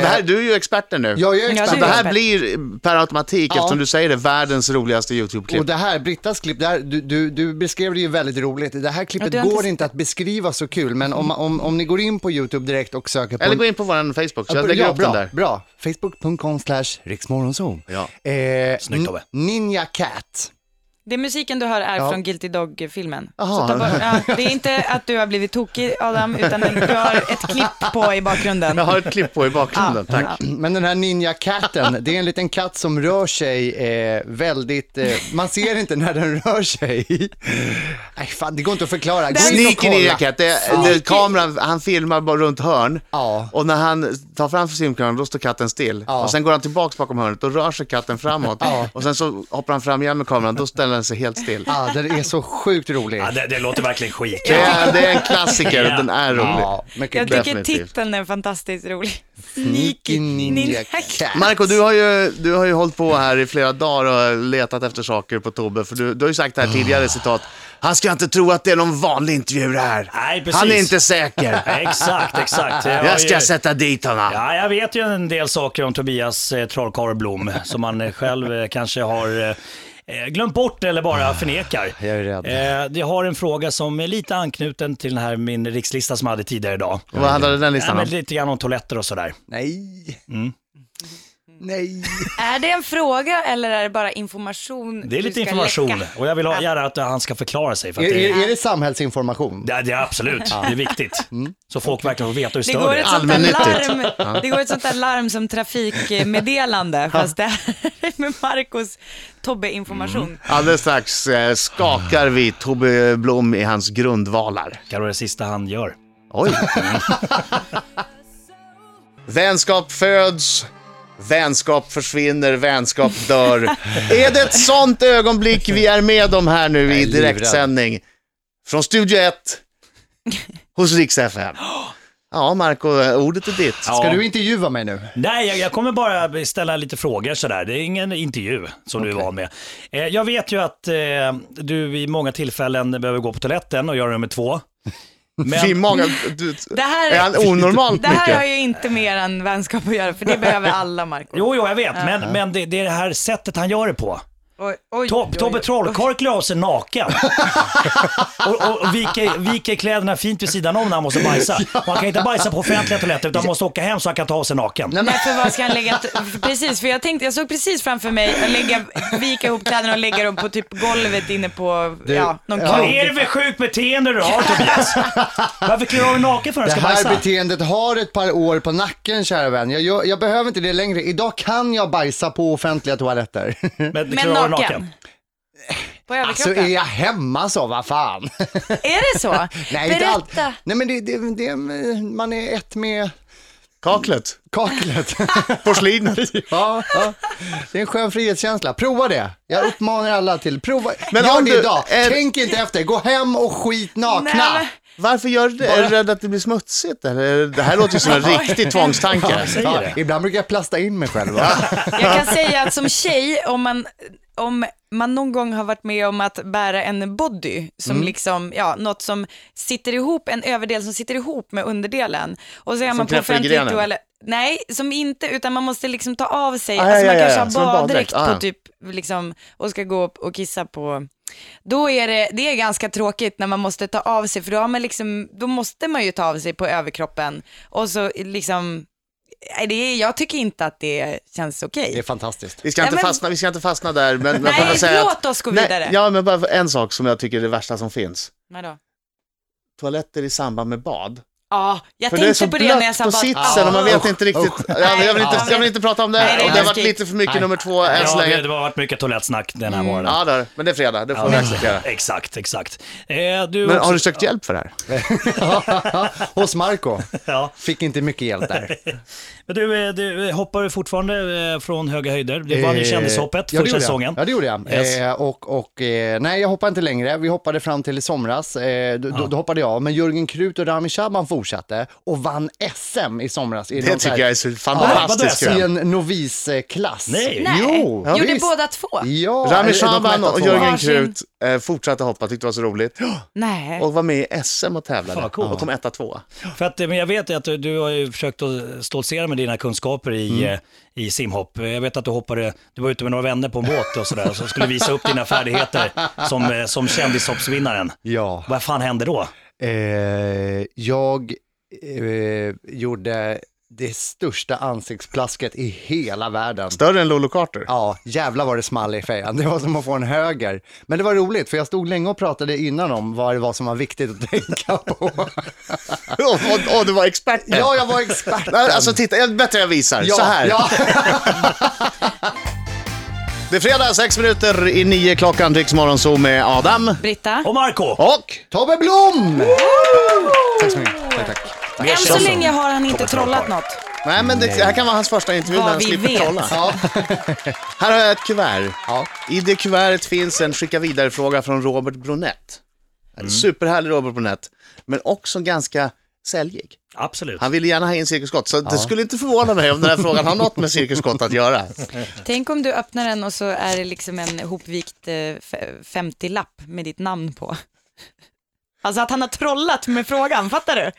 [SPEAKER 5] det här, du är ju experten nu.
[SPEAKER 4] Jag är expert.
[SPEAKER 6] ser
[SPEAKER 5] det här
[SPEAKER 6] det.
[SPEAKER 5] blir per automatik,
[SPEAKER 4] Ja.
[SPEAKER 5] eftersom du säger det, världens roligaste
[SPEAKER 4] Och
[SPEAKER 5] YouTube-klipp.
[SPEAKER 4] det här, Brittas klipp, det här, du, du, du beskrev det ju väldigt roligt. Det här klippet
[SPEAKER 6] Ja, du har
[SPEAKER 4] går
[SPEAKER 6] inte-
[SPEAKER 4] inte att beskriva så kul, men om, om, om ni går in på YouTube direkt och söker på...
[SPEAKER 5] Eller gå in på vår Facebook, så jag lägger
[SPEAKER 4] ja,
[SPEAKER 5] upp
[SPEAKER 4] bra,
[SPEAKER 5] den där.
[SPEAKER 4] Bra, facebook.com slash riksmorgonzon.
[SPEAKER 5] Ja.
[SPEAKER 4] Eh,
[SPEAKER 3] Snyggt, Tobbe.
[SPEAKER 4] N- Ninja Cat.
[SPEAKER 6] Det musiken du hör är
[SPEAKER 4] Ja.
[SPEAKER 6] från Guilty Dog-filmen.
[SPEAKER 5] Jaha.
[SPEAKER 6] Så ta bort- Ja, det är inte att du har blivit tokig Adam, utan den- du har ett klipp på i bakgrunden.
[SPEAKER 5] Jag har ett klipp på i bakgrunden,
[SPEAKER 6] Ja.
[SPEAKER 5] tack.
[SPEAKER 6] Ja.
[SPEAKER 4] Men den här Ninja Catten, det är en liten katt som rör sig eh, väldigt... Eh, man ser inte när den rör sig. Nej, fan, det går inte att förklara. Gå in och
[SPEAKER 5] Sneaky
[SPEAKER 4] kolla.
[SPEAKER 5] Ninja Cat, det, det, kameran, han filmar bara runt hörn
[SPEAKER 4] Ja.
[SPEAKER 5] och när han tar fram simkameran då står katten still.
[SPEAKER 4] Ja.
[SPEAKER 5] Och sen går han tillbaks bakom hörnet, då rör sig katten framåt. Och sen så hoppar han fram igen med kameran, då ställer den sig helt still.
[SPEAKER 4] Ja, den är så sjukt rolig.
[SPEAKER 3] Ja, det, det låter verkligen skit.
[SPEAKER 5] Det, är, det är en klassiker, och den är rolig.
[SPEAKER 4] Ja, mycket
[SPEAKER 6] Jag tycker
[SPEAKER 5] Definitivt.
[SPEAKER 6] titeln är fantastiskt rolig. Sneaky
[SPEAKER 4] Ninja
[SPEAKER 6] Ninja
[SPEAKER 4] Cat.
[SPEAKER 6] Cat.
[SPEAKER 5] Marco, du har, ju, du har ju hållit på här i flera dagar och letat efter saker på Tobbe, för du, du har ju sagt det här
[SPEAKER 3] Ah.
[SPEAKER 5] tidigare, citat. Han ska inte tro att det är någon vanlig intervju det här.
[SPEAKER 3] Nej, precis.
[SPEAKER 5] han är inte säker.
[SPEAKER 3] Exakt, exakt. Jag, har
[SPEAKER 5] Jag ska
[SPEAKER 3] ju-
[SPEAKER 5] sätta dit honom.
[SPEAKER 3] Ja, jag vet ju en del saker om Tobias eh, trollkarl Blom som han eh, själv eh, kanske har eh, glömt bort eller bara förnekar.
[SPEAKER 4] jag är rädd.
[SPEAKER 3] Eh, jag har en fråga som är lite anknuten till den här min rikslista som jag hade tidigare idag.
[SPEAKER 5] Vad handlade den
[SPEAKER 3] Ja,
[SPEAKER 5] listan om?
[SPEAKER 3] Mm.
[SPEAKER 6] Mm.
[SPEAKER 3] men lite grann om toaletter och sådär.
[SPEAKER 4] Nej. Nej!
[SPEAKER 6] Är det en fråga eller är det bara information
[SPEAKER 3] Det är
[SPEAKER 6] du
[SPEAKER 3] lite
[SPEAKER 6] ska
[SPEAKER 3] information
[SPEAKER 6] läcka?
[SPEAKER 3] och jag vill ha gärna att han ska förklara sig. För
[SPEAKER 4] Är,
[SPEAKER 3] att det,
[SPEAKER 4] är, är det samhällsinformation?
[SPEAKER 3] det, det är absolut, det är viktigt. Så folk verkligen får veta hur
[SPEAKER 6] Det
[SPEAKER 3] störd
[SPEAKER 6] går,
[SPEAKER 3] det
[SPEAKER 6] ett
[SPEAKER 3] är.
[SPEAKER 6] sånt där
[SPEAKER 5] Allmännyttigt.
[SPEAKER 6] larm, det går ett sånt där larm som trafikmeddelande, fast det är med Marcos Tobbe-information.
[SPEAKER 5] Alldeles strax eh, skakar vi Tobbe Blom i hans grundvalar.
[SPEAKER 3] Kan vara det sista han gör.
[SPEAKER 5] Oj! vänskap föds, vänskap försvinner, vänskap dör. är det ett sånt ögonblick vi är med om här nu i direktsändning från Studio 1 hos Rix FM? Ja, Marco, ordet är ditt.
[SPEAKER 4] Ska du intervjua mig nu?
[SPEAKER 3] Nej, jag, jag kommer bara ställa lite frågor sådär. Det är ingen intervju som du är van med. Eh, jag vet ju att eh, du i många tillfällen behöver gå på toaletten och göra nummer två. Men,
[SPEAKER 5] Fy, många, du,
[SPEAKER 6] Det här-
[SPEAKER 5] är han onormalt
[SPEAKER 6] Det här har
[SPEAKER 5] mycket?
[SPEAKER 6] ju inte mer än vänskap att göra, för det behöver alla Marco.
[SPEAKER 3] jo, jo, jag vet, men, men det, det är det här sättet han gör det på.
[SPEAKER 6] Oj, oj,
[SPEAKER 3] Tob,
[SPEAKER 6] oj,
[SPEAKER 3] Tobbe
[SPEAKER 6] oj.
[SPEAKER 3] Trollkarl klär av sig naken. och och, och viker, viker kläderna fint vid sidan om när han måste bajsa. Och han kan inte bajsa på offentliga toaletter utan måste åka hem så han kan ta av sig naken.
[SPEAKER 6] Nej, för vad ska han lägga? t- Precis, för jag tänkte, jag såg precis framför mig att lägga, vika ihop kläderna och lägga dem på typ golvet inne på, ja, någon
[SPEAKER 4] ja.
[SPEAKER 3] Vad
[SPEAKER 6] krog.
[SPEAKER 3] är det för sjukt beteende du har Tobias? Varför klär du av dig naken för när
[SPEAKER 4] Det
[SPEAKER 3] du ska
[SPEAKER 4] här
[SPEAKER 3] bajsa?
[SPEAKER 4] beteendet har ett par år på nacken, kära vän. Jag, jag, jag behöver inte det längre. Idag kan jag bajsa på offentliga toaletter.
[SPEAKER 3] Men, klär
[SPEAKER 6] Men
[SPEAKER 3] du av dig
[SPEAKER 6] naken. På
[SPEAKER 4] Alltså,
[SPEAKER 6] överkroppen?
[SPEAKER 4] är jag hemma så, vad fan?
[SPEAKER 6] Är det så?
[SPEAKER 4] Nej, inte allt.
[SPEAKER 6] Berätta.
[SPEAKER 4] Nej, men det, det, det, man är ett med
[SPEAKER 5] Kaklet?
[SPEAKER 4] kaklet.
[SPEAKER 5] Porslinet?
[SPEAKER 4] ja, ja. Det är en skön frihetskänsla. Prova det. Jag uppmanar alla till, prova.
[SPEAKER 5] Men
[SPEAKER 4] Men Gör
[SPEAKER 5] om
[SPEAKER 4] det
[SPEAKER 5] du-
[SPEAKER 4] idag.
[SPEAKER 5] är-
[SPEAKER 4] Tänk inte efter. Gå hem och skit nakna.
[SPEAKER 6] Nej, men-
[SPEAKER 5] Varför gör du det? Är du rädd att det blir smutsigt? Eller? Det här låter ju som en riktig tvångstanke.
[SPEAKER 3] säger
[SPEAKER 4] Ja,
[SPEAKER 3] det.
[SPEAKER 4] ibland brukar jag plasta in mig själv. va?
[SPEAKER 6] Jag kan säga att som tjej, om man, om man någon gång har varit med om att bära en body, som
[SPEAKER 5] Mm.
[SPEAKER 6] liksom, ja, något som sitter ihop, en överdel som sitter ihop med underdelen. Och så är man på
[SPEAKER 5] knäpper i
[SPEAKER 6] offentlig
[SPEAKER 5] grenen.
[SPEAKER 6] toalett. Nej, som inte, utan man måste liksom ta av sig,
[SPEAKER 5] Ah,
[SPEAKER 6] alltså
[SPEAKER 5] ja,
[SPEAKER 6] man
[SPEAKER 5] ja, ja,
[SPEAKER 6] kanske
[SPEAKER 5] som en
[SPEAKER 6] har baddräkt
[SPEAKER 5] baddräkt. Ah, ja.
[SPEAKER 6] på typ, liksom, och ska gå upp och kissa på då är det, det är ganska tråkigt när man måste ta av sig, för då, har man liksom, då måste man ju ta av sig på överkroppen. Och så liksom, nej, det är, jag tycker inte att det känns okej.
[SPEAKER 4] Det är fantastiskt.
[SPEAKER 5] Vi ska,
[SPEAKER 6] Nej,
[SPEAKER 5] inte
[SPEAKER 6] men-
[SPEAKER 5] fastna, vi ska inte fastna där. Men, men
[SPEAKER 6] Nej,
[SPEAKER 5] bara säga
[SPEAKER 6] låt oss gå vidare.
[SPEAKER 5] Nej, ja, men bara en sak som jag tycker är det värsta som finns.
[SPEAKER 6] Vadå?
[SPEAKER 5] Toaletter i samband med bad.
[SPEAKER 6] Ja, jag
[SPEAKER 5] För det är
[SPEAKER 6] tänkte
[SPEAKER 5] så
[SPEAKER 6] på det när jag
[SPEAKER 5] blött
[SPEAKER 6] sa
[SPEAKER 5] på
[SPEAKER 6] bara-
[SPEAKER 5] sitsen och man vet inte riktigt. Ja, jag, vill inte, jag vill inte prata om det.
[SPEAKER 6] Nej, det är
[SPEAKER 5] och det har varit
[SPEAKER 6] läskigt.
[SPEAKER 5] lite för mycket nummer två än så
[SPEAKER 3] Ja, det,
[SPEAKER 5] länge.
[SPEAKER 3] det har varit mycket toalettsnack den här morgonen. Mm.
[SPEAKER 5] Ja, där. men det är fredag. Det får vi acceptera.
[SPEAKER 3] Exakt, exakt. Eh, du
[SPEAKER 5] Men
[SPEAKER 3] också,
[SPEAKER 5] har du sökt hjälp för det här?
[SPEAKER 4] Hos Marco
[SPEAKER 3] ja.
[SPEAKER 4] Fick inte mycket hjälp där.
[SPEAKER 3] Men du, eh, du eh, hoppar du fortfarande eh, från höga höjder. Du vann ju
[SPEAKER 4] Eh,
[SPEAKER 3] kändishoppet
[SPEAKER 4] ja, det
[SPEAKER 3] första
[SPEAKER 4] gjorde jag.
[SPEAKER 3] säsongen.
[SPEAKER 4] Ja, det gjorde jag.
[SPEAKER 3] Yes.
[SPEAKER 4] Eh, och, och, eh, nej, jag hoppade inte längre. Vi hoppade fram till i somras. Eh, då, då- då hoppade jag av. Men Jörgen Krut och Rami Shaban fortsatte och vann SM i somras. I
[SPEAKER 5] Det
[SPEAKER 4] någon så
[SPEAKER 5] tycker
[SPEAKER 4] här-
[SPEAKER 5] jag är så fantastiskt
[SPEAKER 3] vadå,
[SPEAKER 4] I
[SPEAKER 5] kul.
[SPEAKER 4] en novisklass.
[SPEAKER 3] Nej.
[SPEAKER 6] Nej,
[SPEAKER 4] Jo, ja,
[SPEAKER 6] gjorde
[SPEAKER 4] visst.
[SPEAKER 6] båda två?
[SPEAKER 4] Ja, eller
[SPEAKER 5] Rami
[SPEAKER 4] de
[SPEAKER 5] Shaban
[SPEAKER 4] mätta
[SPEAKER 5] och
[SPEAKER 4] två.
[SPEAKER 5] Jörgen
[SPEAKER 6] Varsin.
[SPEAKER 5] Krut eh, fortsatte hoppa, tyckte det var så roligt.
[SPEAKER 6] Nej.
[SPEAKER 5] Och var med i SM och tävlade.
[SPEAKER 3] Fan, coolt.
[SPEAKER 5] Och kom etta, tvåa.
[SPEAKER 3] För att, eh, men jag vet ju att du, du har ju försökt att stoltsera med dina kunskaper i,
[SPEAKER 4] Mm.
[SPEAKER 3] eh, i simhopp. Jag vet att du hoppade, du var ute med några vänner på en båt och sådär, och så skulle visa upp dina färdigheter som, eh, som kändishoppsvinnaren.
[SPEAKER 4] Ja.
[SPEAKER 3] Vad fan hände då?
[SPEAKER 4] Eh, jag eh, gjorde det största ansiktsplasket i hela världen.
[SPEAKER 5] Större än Lolo Carter.
[SPEAKER 4] Ja, jävla var det small i fejan. Det var som att få en höger. Men det var roligt, för jag stod länge och pratade innan om vad det var som var viktigt att tänka på.
[SPEAKER 5] Åh, åh, åh, du var expert.
[SPEAKER 4] Ja, jag var expert.
[SPEAKER 5] Nej, Alltså titta, jag- bättre jag visar.
[SPEAKER 4] ja,
[SPEAKER 5] så här.
[SPEAKER 4] Ja.
[SPEAKER 5] Det är fredag, sex minuter i nio klockan. Riksmorgon så med Adam.
[SPEAKER 6] Britta?
[SPEAKER 3] Och Marco!
[SPEAKER 5] Och?
[SPEAKER 4] Tobbe Blom! Tack så mycket. Tack, tack.
[SPEAKER 6] Än så länge har han inte trollat något.
[SPEAKER 5] Nej, men det, det här kan vara hans första intervju
[SPEAKER 6] Vad
[SPEAKER 5] när han
[SPEAKER 6] vi
[SPEAKER 5] slipper
[SPEAKER 6] vet.
[SPEAKER 5] trolla. Här har jag ett kuvert.
[SPEAKER 4] Ja.
[SPEAKER 5] I det kuvertet finns en skicka vidare-fråga från Robert Brunett.
[SPEAKER 3] Mm.
[SPEAKER 5] En Superhärlig Robert Brunett, men också ganska säljig.
[SPEAKER 3] Absolut.
[SPEAKER 5] Han ville gärna ha in Cirkus Scott, så det skulle inte förvåna mig om den här frågan har något med Cirkus Scott att göra.
[SPEAKER 6] Tänk om du öppnar den och så är det liksom en hopvikt eh, fe- 50-lapp med ditt namn på. Alltså att han har trollat med frågan, fattar du?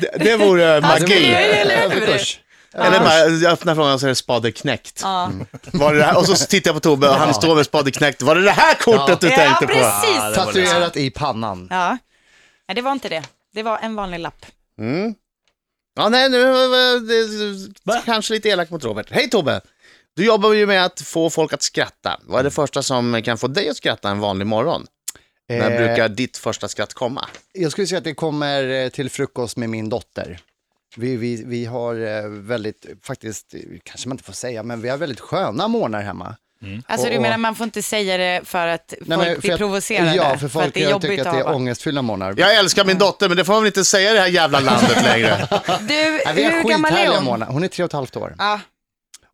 [SPEAKER 5] Det, det vore
[SPEAKER 6] Alltså, det
[SPEAKER 5] magi.
[SPEAKER 6] är- eller hur?
[SPEAKER 4] Överkurs.
[SPEAKER 5] Eller bara, jag öppnar frågan och så är det spade knäckt.
[SPEAKER 6] Ja,
[SPEAKER 5] Var det det här? Och så tittar jag på Tobbe och han står med spade knäckt. Var det det här kortet du
[SPEAKER 6] ja
[SPEAKER 5] tänkte på?
[SPEAKER 3] Ja,
[SPEAKER 6] precis.
[SPEAKER 3] det var det.
[SPEAKER 4] Tatuerat i pannan.
[SPEAKER 6] Ja. Nej, det var inte det. Det var en vanlig lapp.
[SPEAKER 5] Ja, nej, nu eh, det-
[SPEAKER 3] Va?
[SPEAKER 5] kanske lite elak mot Robert. Hej Tobbe! Du jobbar ju med att få folk att skratta. Vad är det första som kan få dig att skratta en vanlig morgon? När
[SPEAKER 4] Eh,
[SPEAKER 5] brukar ditt första skratt komma?
[SPEAKER 4] Jag skulle säga att det kommer eh, till frukost med min dotter. Vi, vi, vi har eh, väldigt, faktiskt, eh, kanske man inte får säga, men vi har väldigt sköna morgnar hemma.
[SPEAKER 6] Alltså du
[SPEAKER 4] Och-
[SPEAKER 6] menar man får inte säga det för att
[SPEAKER 4] Nej,
[SPEAKER 6] folk
[SPEAKER 4] men
[SPEAKER 6] blir
[SPEAKER 4] att-
[SPEAKER 6] provocerade?
[SPEAKER 4] Ja, för folk
[SPEAKER 6] att det är jobbigt
[SPEAKER 4] tycker att det är
[SPEAKER 6] ha-
[SPEAKER 4] ångestfyllda morgnar.
[SPEAKER 5] Jag älskar
[SPEAKER 6] Mm.
[SPEAKER 5] min dotter, men det får man väl inte säga i det här jävla landet längre.
[SPEAKER 6] Du,
[SPEAKER 4] Nej, vi har
[SPEAKER 6] hur gammal är
[SPEAKER 4] skithärliga
[SPEAKER 6] hon?
[SPEAKER 4] morgnar. Hon är tre och ett halvt år.
[SPEAKER 6] Ja.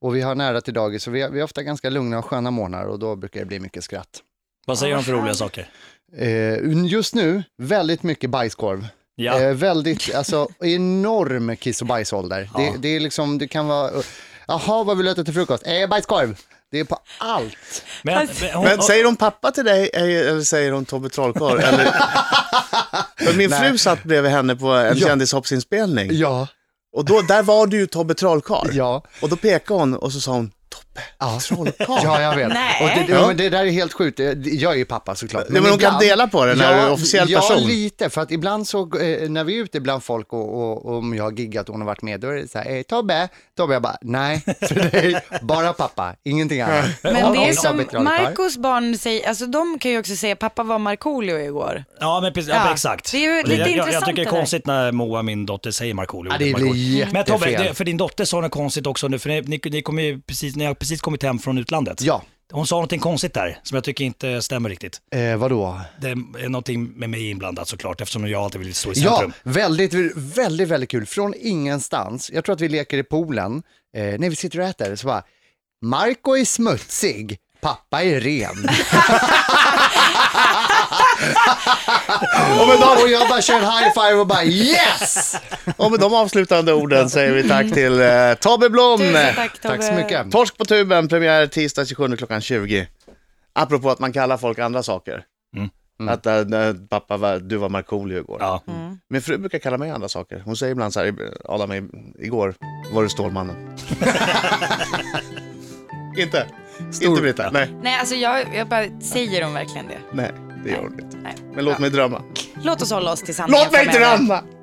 [SPEAKER 4] Och vi har nära till dagis, så vi har, vi har ofta ganska lugna och sköna morgnar och då brukar det bli mycket skratt.
[SPEAKER 3] Vad säger de för roliga saker?
[SPEAKER 4] Eh, just nu, väldigt mycket bajskorv.
[SPEAKER 3] Ja.
[SPEAKER 4] Eh, väldigt, alltså enorm kiss och bajsålder. Det, det är liksom, det kan vara, jaha vad vill du äta till frukost? Eh, bajskorv. Det är på allt.
[SPEAKER 3] Men, men, hon,
[SPEAKER 5] Men säger hon pappa till dig eh, eller säger hon Tobbe Trollkarl? Eller... För Min fru satt bredvid henne på en
[SPEAKER 4] Ja.
[SPEAKER 5] kändishoppsinspelning.
[SPEAKER 4] Ja,
[SPEAKER 5] Och då, där var du ju Tobbe Trollkarl.
[SPEAKER 4] Ja.
[SPEAKER 5] Och då pekade hon och så sa hon Tobbe
[SPEAKER 4] Ja.
[SPEAKER 5] Trollkarl.
[SPEAKER 4] ja jag vet.
[SPEAKER 6] Nej.
[SPEAKER 4] Och det, ja, men det där är helt sjukt. Eh, Jag är ju pappa såklart.
[SPEAKER 5] men hon kan dela på det när du är
[SPEAKER 4] Ja,
[SPEAKER 5] officiell
[SPEAKER 4] ja,
[SPEAKER 5] person.
[SPEAKER 4] lite. För att ibland så, eh, när vi är ute bland folk och, och, och om jag har giggat och hon har varit med, då är det så här, eh, Tobbe, Tobbe, jag bara, nej, för dig, bara pappa, ingenting annat.
[SPEAKER 6] Men
[SPEAKER 4] Om-
[SPEAKER 6] det
[SPEAKER 4] om
[SPEAKER 6] är
[SPEAKER 4] Tobbe
[SPEAKER 6] som
[SPEAKER 4] Trollkarl.
[SPEAKER 6] Marcos barn säger, alltså de kan ju också säga pappa var Markoolio igår.
[SPEAKER 3] ja, men precis, ja.
[SPEAKER 6] Ja.
[SPEAKER 3] exakt.
[SPEAKER 6] Det är ju lite
[SPEAKER 3] jag, jag, jag
[SPEAKER 6] intressant,
[SPEAKER 3] tycker det är
[SPEAKER 6] eller?
[SPEAKER 3] konstigt när Moa, min dotter, säger Markoolio.
[SPEAKER 4] Ja, det blir jättefel.
[SPEAKER 3] Men Tobbe, det, för din dotter sa något konstigt också nu, för ni, ni, ni, kom ju precis, ni har precis kommit hem från utlandet.
[SPEAKER 4] Ja,
[SPEAKER 3] Hon sa någonting konstigt där, som jag tycker inte stämmer riktigt.
[SPEAKER 4] eh, vadå?
[SPEAKER 3] Det är någonting med mig inblandat såklart, eftersom jag alltid vill stå i
[SPEAKER 4] Ja,
[SPEAKER 3] centrum.
[SPEAKER 4] väldigt, väldigt, väldigt kul. Från ingenstans. Jag tror att vi leker i poolen. Eh, när vi sitter och äter så bara, Marco är smutsig, pappa är ren.
[SPEAKER 5] Och med, de,
[SPEAKER 4] och jag bara kör en high five och bara yes!
[SPEAKER 5] och med de avslutande orden säger vi tack till eh, Tobbe Blom.
[SPEAKER 6] Tusen tack Tobbe.
[SPEAKER 4] Tack så mycket.
[SPEAKER 5] Torsk på tuben, premiär tisdag 27 klockan 20. Apropå att man kallar folk andra saker.
[SPEAKER 3] Mm.
[SPEAKER 5] Att eh, när pappa, var, du var Markoolio igår.
[SPEAKER 3] Ja.
[SPEAKER 5] Min fru brukar kalla mig andra saker. Hon säger ibland så här, Adam, i- igår var du Stålmannen. inte? Inte Britta? Nej,
[SPEAKER 6] Nej, alltså jag, jag bara, säger hon verkligen det?
[SPEAKER 5] nej, det gör hon inte.
[SPEAKER 6] Nej.
[SPEAKER 5] Men låt mig drömma.
[SPEAKER 6] Låt oss hålla oss till sanningen
[SPEAKER 5] Låt mig
[SPEAKER 6] framöver.
[SPEAKER 5] drömma!